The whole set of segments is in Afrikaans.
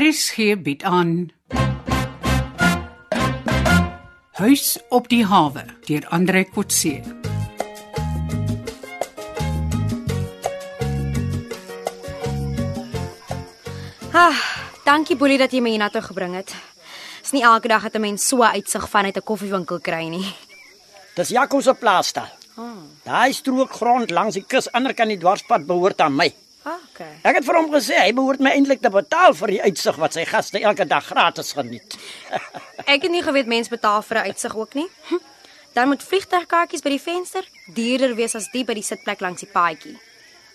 RSG bied aan Huis op die hawe deur Andre Kotse. Ah, dankie Boelie dat jy my hiernatoe gebring het. Dis nie elke dag dat 'n mens so uitsig vanuit 'n koffiewinkel kry nie. Dis Jaco se plaas daar. Daai strook grond langs die kus ander kan die dwarspad behoort aan my. Okay. Ek het vir hom gesê hy behoort my eintlik te betaal vir die uitsig wat sy gaste elke dag gratis geniet. Ek het nie geweet mens betaal vir 'n uitsig ook nie. Hm. Dan moet vliegtuigkaartjies by die venster duurder wees as die by die sitplek langs die paadjie.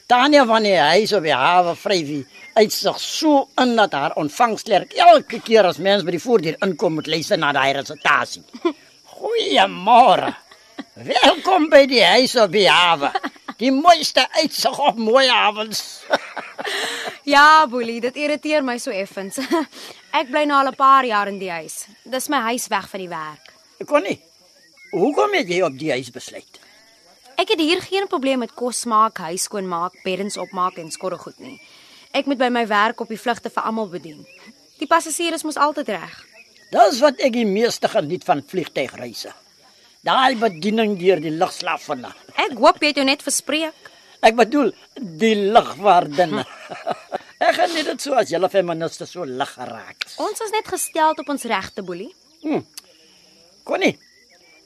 Tanya wanneer hy so by hawe vryfie uitsig so in dat haar ontvangslerk elke keer as mens by die voordeur inkom moet luister na daai resitasie. Goeiemôre. Welkom by die huis op die hawe. Die mooiste uitsig op mooi avonds. Ja, Boelie, dit irriteer my so effens. Ek bly nou al 'n paar jaar in die huis. Dis my huis weg van die werk. Ek kon nie. Hoekom het jy op die huis besluit? Ek het hier geen probleem met kos maak, huis skoon maak, beddens opmaak en skorre goed nie. Ek moet by my werk op die vlugte vir almal bedien. Die passasiers mos altyd reg. Dis wat ek die meeste geniet van vliegtuigreise. Daai bediening deur die lugslaffinne. Ek hoop jy het jou net verspreek. Ek bedoel die lugwaardinne. ek geniet dit so as julle feministe so lig geraak. is. Ons is net gestel op ons regte boelie. Connie,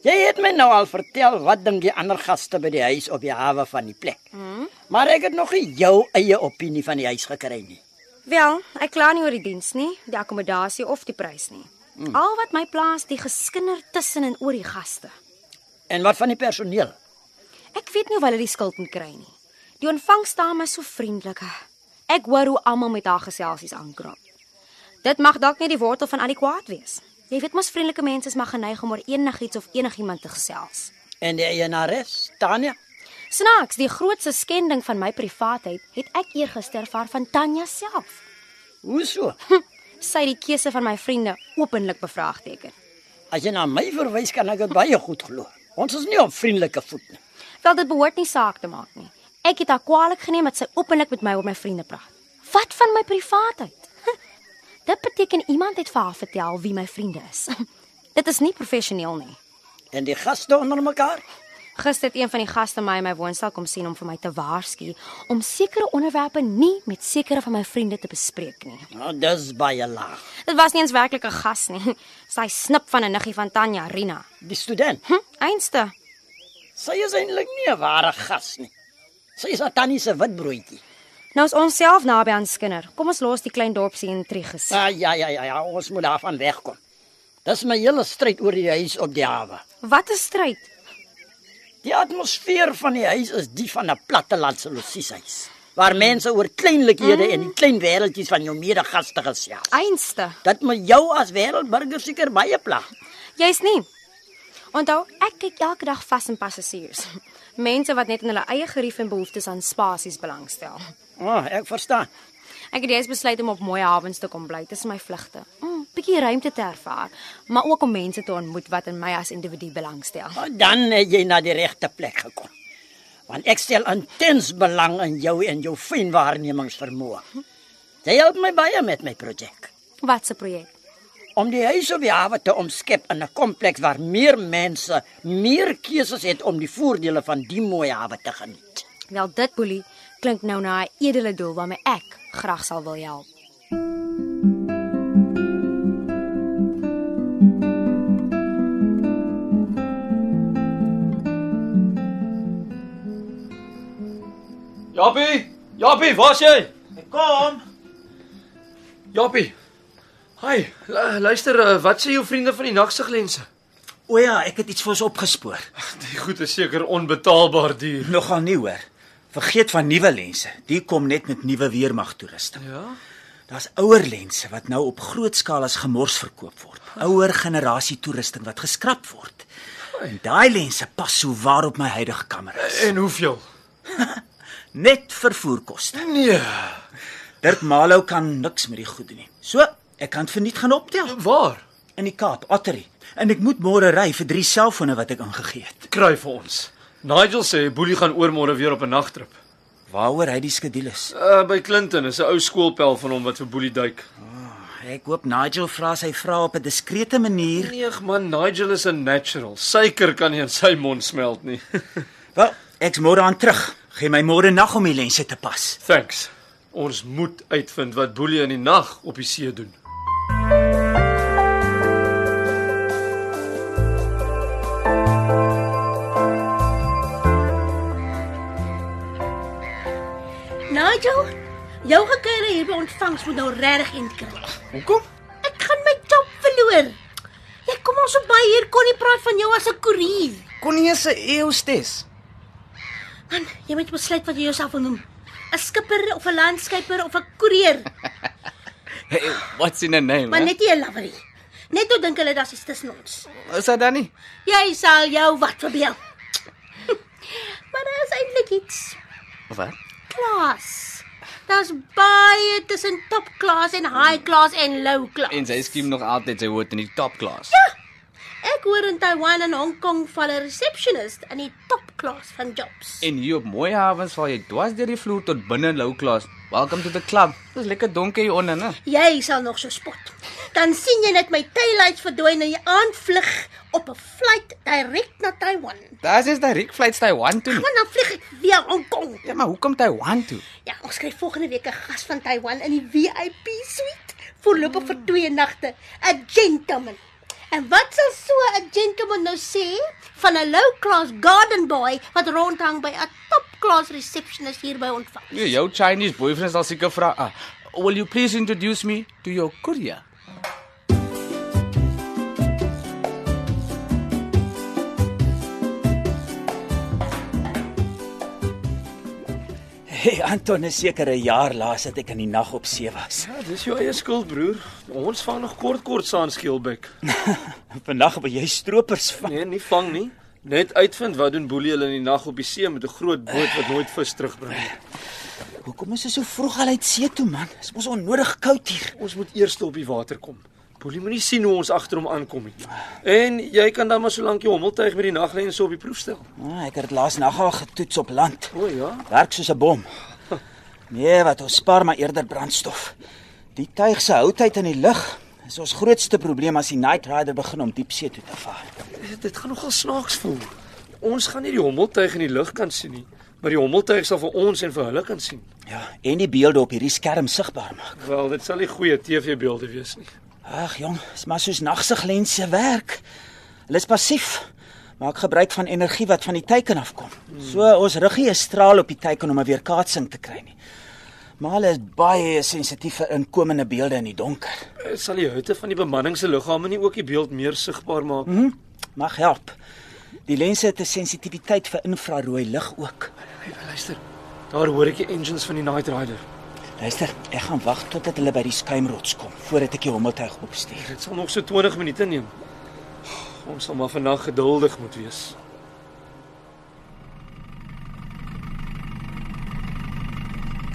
jy het my nou al vertel wat dink die ander gaste by die huis op die hawe van die plek. Hmm? Maar ek het nog nie jou eie opinie van die huis gekry nie. Wel, ek kla nie oor die diens nie, die akkommodasie of die prys nie. Mm. Al wat my plaas, die geskinder tussen en oor die gaste. En wat van die personeel? Ek weet nie of hulle die skuld moet kry nie. Die ontvangsdame is so vriendelik. Ek hoor hoe almal met haar geselsies aankrap. Dit mag dalk nie die wortel van al die kwaad wees. Jy weet mos vriendelike mense is maar geneig om oor enigiets of enigiemand te gesels. En die eienares, Tanya? Snaaks, die grootste skending van my privaatheid het ek eergister vaar van Tanya self. Hoe so? Sy het die keuse van my vriende openlik bevraagteken. As jy na my verwys kan ek dit baie goed glo. Ons is nie op vriendelike voet nie. Wel dit behoort nie saak te maak nie. Ek het haar kwaadlik geneem dat sy openlik met my oor my vriende praat. Wat van my privaatheid? Dit beteken iemand het vir haar vertel wie my vriende is. Dit is nie professioneel nie. En die gaste onder mekaar? Gister het een van die gaste my in my woonstel kom sien om vir my te waarsku om sekere onderwerpe nie met sekere van my vriende te bespreek nie. Nou, dis baie laag. Dit was nie eens werklik 'n gas nie. Sy snip van 'n niggie van Tanya Rina. Die student, Hm, einste. sy is eintlik nie 'n ware gas nie. Sy is aan Tannie se witbroodjie. Nou is ons self naby aan Skinner. Kom ons los die klein dorpsie intriges. Ah, ja, ja, ja, ja, ons moet daarvan wegkom. Dis my hele stryd oor die huis op die hawe. Wat 'n stryd. Die atmosfeer van die huis is die van 'n plattelandse losieshuis waar mense oor kleinlikhede mm. en die klein wêreldjies van jou medegaste gesels. Einste. Dit moet jou as wêreldburger seker baie pla. Jy's nie. Onthou, ek kyk elke dag vas in passasiers. Mense wat net in hulle eie gerief en behoeftes aan spasies belangstel. O, oh, ek verstaan. Ek het jous besluit om op mooi hawens te kom bly tussen my vlugte. 'n mm, Bietjie ruimte te ervaar, maar ook om mense te ontmoet wat in my as individu belangstel. Maar Oh, Dan het jy na die regte plek gekom. Want ek stel intens belang in jou en jou fyn waarnemingsvermoë. Jy help my baie met my projek Wat se projek? om die huis op die hawe te omskep in 'n kompleks waar meer mense meer keuses het om die voordele van die mooi hawe te geniet. Wel dit, Boelie, klink nou na 'n edele doel waarmee ek graag sal wil help. Jappie, Jappie, waar's jy? Ek kom. Jappie. Hi, lu- luister, eh, wat sê jou vriende van die nagsiglense? O ja, ek het iets vir ons opgespoor. Die goed is seker onbetaalbaar duur. Nogal nie hoor. Vergeet van nuwe lense. Die kom net met nuwe weermag toerusting. Ja? Daar's ouer lense wat nou op groot skaal as gemors verkoop word. Ouer generasie toerusting wat geskraap word. En daai lense pas so waar op my huidige kameras. En hoeveel? Net vervoerkoste. Nee. Dirk Malou kan niks met die goed doen nie. So, ek kan dit verniet gaan optel Waar? in die Kaap, Otterie. En ek moet môre ry vir drie selfone wat ek ingegee het. Kry vir ons. Nigel sê Boelie gaan oormôre weer op 'n nagtrip. Waaroor hy die skedules? Eh, Uh by Clinton is 'n ou skoolpel van hom wat vir Boelie duik. Ek hoop Nigel vra sy vrae op 'n diskrete manier. Nee, man, Nigel is 'n natural. Suiker kan nie in sy mond smelt nie. Wel, ek's môre aan terug. Gaan my môre nag om die lense te pas. Thanks. Ons moet uitvind wat boelie in die nag op die see doen. Nigel, jou gekuier hier by ontvangs moet nou regtig end kry. Hoekom? Ek gaan my job verloor. Jy kom ons op by hier kon nie praat van jou as 'n koerier. Kon nie eens 'n eeus tes. Man, jy moet besluit wat jy jouself wil noem. 'n Skipper of 'n landskeiper of 'n koerier, Hey, what's in a name? maar hè? net nie 'n lavery. Net toe dink hulle daar's iets tussen ons. Is dit dan nie? Jy sal jou wat verbeel. maar daar is eintlik iets. Wat? Klas. Daar's baie tussen top class en high class en low class. En sy skiem nog altyd sy woord in die top klas. Ek hoor in Taiwan en Hong Kong val 'n receptionist in die topklas van jobs. En hier op mooi hawens val jy dwars deur die vloer tot binne in low class. Welcome to the club. Dis lekker donker hier onder, né? Jy sal nog so spot. Dan sien jy net my taillights verdwyn en jy aanvlieg op 'n flight direk na Taiwan. Daar's is daai Rick flights Taiwan toe. nie. Want dan vlieg ek weer Hong Kong. Ja, maar hoekom Taiwan toe? Ja, ons kry volgende week 'n gas van Taiwan in die VIP suite voorlopig vir twee nagte. 'n Gentleman. En wat sal so 'n gentleman nou sê van 'n low-class garden boy wat rondhang by 'n top-class receptionist hier by ontvang? Nee, jou Chinese boyfriend sal seker vra, ah, "Will you please introduce me to your courier?" Hey, Anton is seker 'n jaar laas dat ek in die nag op see was. Ja, dis jou eie skuld, broer. Ons vang nog kort kort saan skeelbek. Vandag wil jy stroopers vang. Nee, nie vang nie. Net uitvind wat doen boelie hulle in die nag op die see met 'n groot boot wat nooit vis terugbring nie. Nee. Hoekom is dit so vroeg al uit see toe man? Dit is mos onnodig koud hier. Ons moet eers op die water kom. Boelie moenie sien hoe ons agter hom aankom nie. En jy kan dan maar solank jou hommeltuig met die naglense op die proef stel. Ah, ek het dit laas nag al getoets op land. O ja. Werk soos 'n bom. Nee, wat ons spaar maar eerder brandstof. Die tuig se houtheid in die lug is ons grootste probleem as die Night Rider begin om diepsee toe te vaar. Dit gaan nogal snaaks voel. Ons gaan nie die hommeltuig in die lug kan sien nie, maar die hommeltuig sal vir ons en vir hulle kan sien. Ja, en die beelde op hierdie skerm sigbaar maak. Wel, dit sal nie goeie TV-beelde wees nie. Ag jong, dis maar soos nagsiglense werk. Hulle is passief. Maak gebruik van energie wat van die teiken afkom. So ons rig nie 'n straal op die teiken om 'n weerkaatsing te kry nie. Maar hulle is baie sensitief vir inkomende beelde in die donker. Eh, Sal die hitte van die bemanning se liggame nie ook die beeld meer sigbaar maak? Hm? Mag help. Die lense het 'n sensitiwiteit vir infrarooi lig ook. Hey, luister. Daar hoor ek die engines van die Night Rider. Luister, ek gaan wag totdat hulle by die skuimrots kom voordat ek die hommeltuig opstuur. Dit sal nog so 20 minute neem. Ons sal maar vandag geduldig moet wees.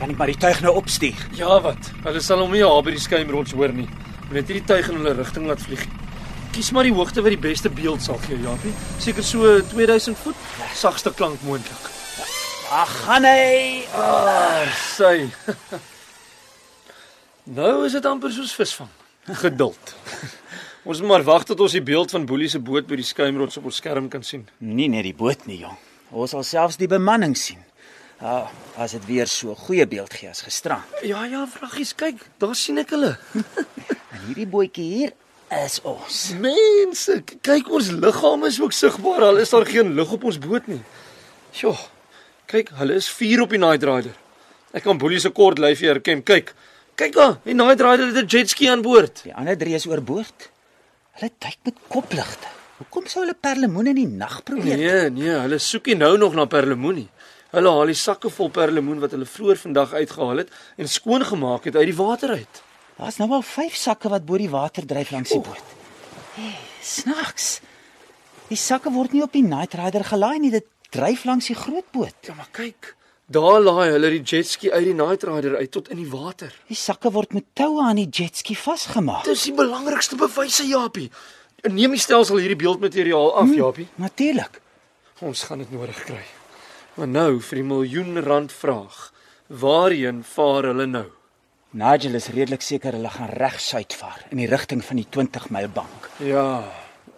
Kan ek maar die tuig nou opstuur? Ja, wat? Hulle sal hom nie daar by die skuimrots hoor nie. Hulle het hierdie tuig in hulle rigting laat vlieg. Kies maar die hoogte wat die beste beeld sal gee, Japie. Seker so 2000 voet, sagste klank moontlik. Ag, gaan hy. Ah, sy. nou is dit amper soos visvang. Geduld. ons moet maar wag tot ons die beeld van Boelie se boot by die skuimrots op ons skerm kan sien. Nie net die boot nie, jong. Ons sal selfs die bemanning sien. Ah, as dit weer so 'n goeie beeld gee as gisterand. Ja, ja, vraggies, kyk, daar sien ek hulle. En hierdie bootjie hier is ons. Mense, k- kyk ons liggame is ook sigbaar. Al is daar geen lig op ons boot nie. Sjoe. Kyk, hulle is vier op die Night Rider. Ek kan Boelie se kort lyfie herken. Kyk. Kyk daar, die Night Rider het 'n jetski aan boord. Die ander drie is oorboord. Hulle duik met kopligte. Hoekom sou hulle perlemoen in die nag probeer? Nee, nee, hulle soek nie nou nog na perlemoen nie. Hulle haal die sakke vol perlemoen wat hulle vroeër vandag uitgehaal het en skoongemaak het uit die water uit. Daar's nou al 5 sakke wat bo die water dryf langs die boot. Hey, snaaks. Die sakke word nie op die Night Rider gelaai nie, dit dryf langs die groot boot. Ja, maar kyk. Daar laai hulle die jetski uit die Night Rider uit tot in die water. Die sakke word met toue aan die jetski vasgemaak. Dis die belangrikste bewyse, Japie. Neem die stelsel hierdie beeldmateriaal af, Japie. Natuurlik. Ons gaan dit nodig kry. Maar nou vir die miljoen rand vraag. Waarheen vaar hulle nou? Nigel is redelik seker hulle gaan regsuit vaar in die rigting van die 20 myl bank. Ja.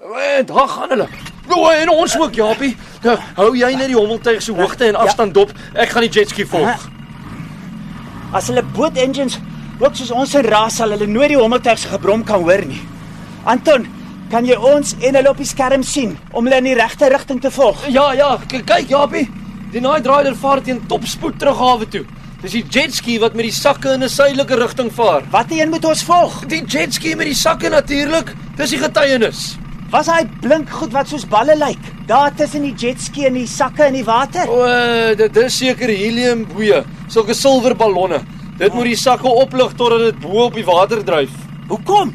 En daar gaan hulle. Nou en ons ook, Japie. Nou, hou jy net die hommeltuig se hoogte en afstand dop. Ek gaan die jetski volg. As hulle boot engines ook soos ons se raas sal hulle nooit die hommeltuig se gebrom kan hoor nie. Anton, kan jy ons en hulle op die skerm sien om hulle in die regte rigting te volg? Ja, ja, k- kyk Japie. Die Night Rider vaar teen topspoed terug hawe toe. Dis die jetski wat met die sakke in 'n suidelike rigting vaar. Watter een moet ons volg? Die jetski met die sakke natuurlik. Dis die getuienis. Was hy blink goed wat soos balle lyk? Daar tussen die jetski en die sakke in die water? O, eh, dit is seker helium boeie, sulke silwer ballonne. Dit moet die sakke oplig totdat dit bo op die water dryf. Hoekom?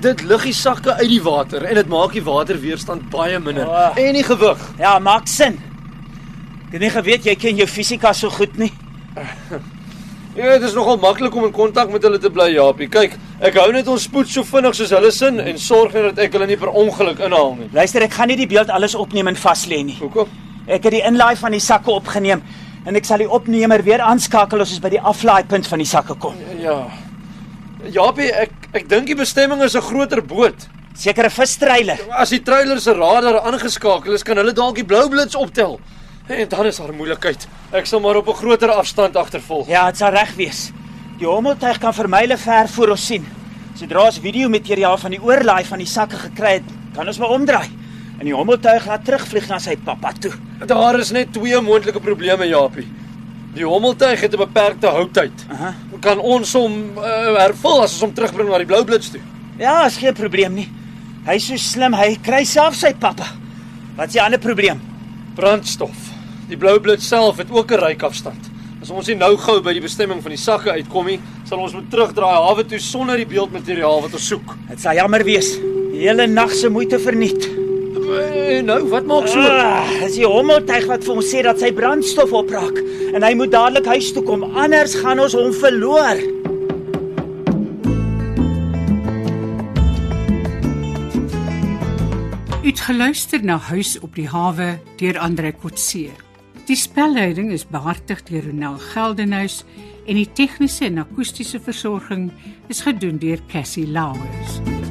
Dit lig die sakke uit die water en dit maak die waterweerstand baie minder Ah. en die gewig. Ja, maak sin. Ek het nie geweet jy ken jou fisika so goed nie. Ja, dit is nogal maklik om in kontak met hulle te bly, Japie. Kyk, ek hou net ons spoed so vinnig soos hulle sin en sorg net dat ek hulle nie per ongeluk inhaal nie. Luister, ek gaan nie die beeld alles opneem en vas lê nie. Hoekom? Ek het die inlaai van die sakke opgeneem en ek sal die opnemer weer aanskakel as ons by die aflaaipunt van die sakke kom. Ja. Japie, ek ek dink die bestemming is 'n groter boot. Sekere vistreiler. As die trailer se radar aangeskakel is, kan hulle dalk die blou blits optel. En dan is daar moeilikheid. Ek sal maar op 'n groter afstand agtervolg. Ja, dit sal reg wees. Die hommeltuig kan vermyle ver voor ons sien. Sodra ons videomateriaal van die oorlaai van die sakke gekry het, kan ons maar omdraai en die hommeltuig laat terugvlieg na sy pappa toe. Daar is net twee moontlike probleme, Japie. Die hommeltuig het 'n beperkte houtyd. Aha. Kan ons hom uh, hervul as ons hom terugbring na die blou blits toe? Ja, is geen probleem nie. Hy is so slim, hy kry self sy pappa. Wat is die ander probleem? Brandstof. Die blou blits self het ook 'n ryk afstand. As ons nie nou gou by die bestemming van die sakke uitkom nie, sal ons moet terugdraai hawe toe sonder die beeldmateriaal wat ons soek. Dit sal jammer wees. Die hele nag se moeite verniet. En nou, wat maak so? Ah, dis die hommeltuig wat vir ons sê dat sy brandstof opraak en hy moet dadelik huis toe kom, anders gaan ons hom verloor. U het geluister na Huis op die hawe deur Andre Kotse. Die spelleiding is behartig deur Ronel Geldenhuys en die tegniese en akoestiese versorging is gedoen deur Cassie Lauers.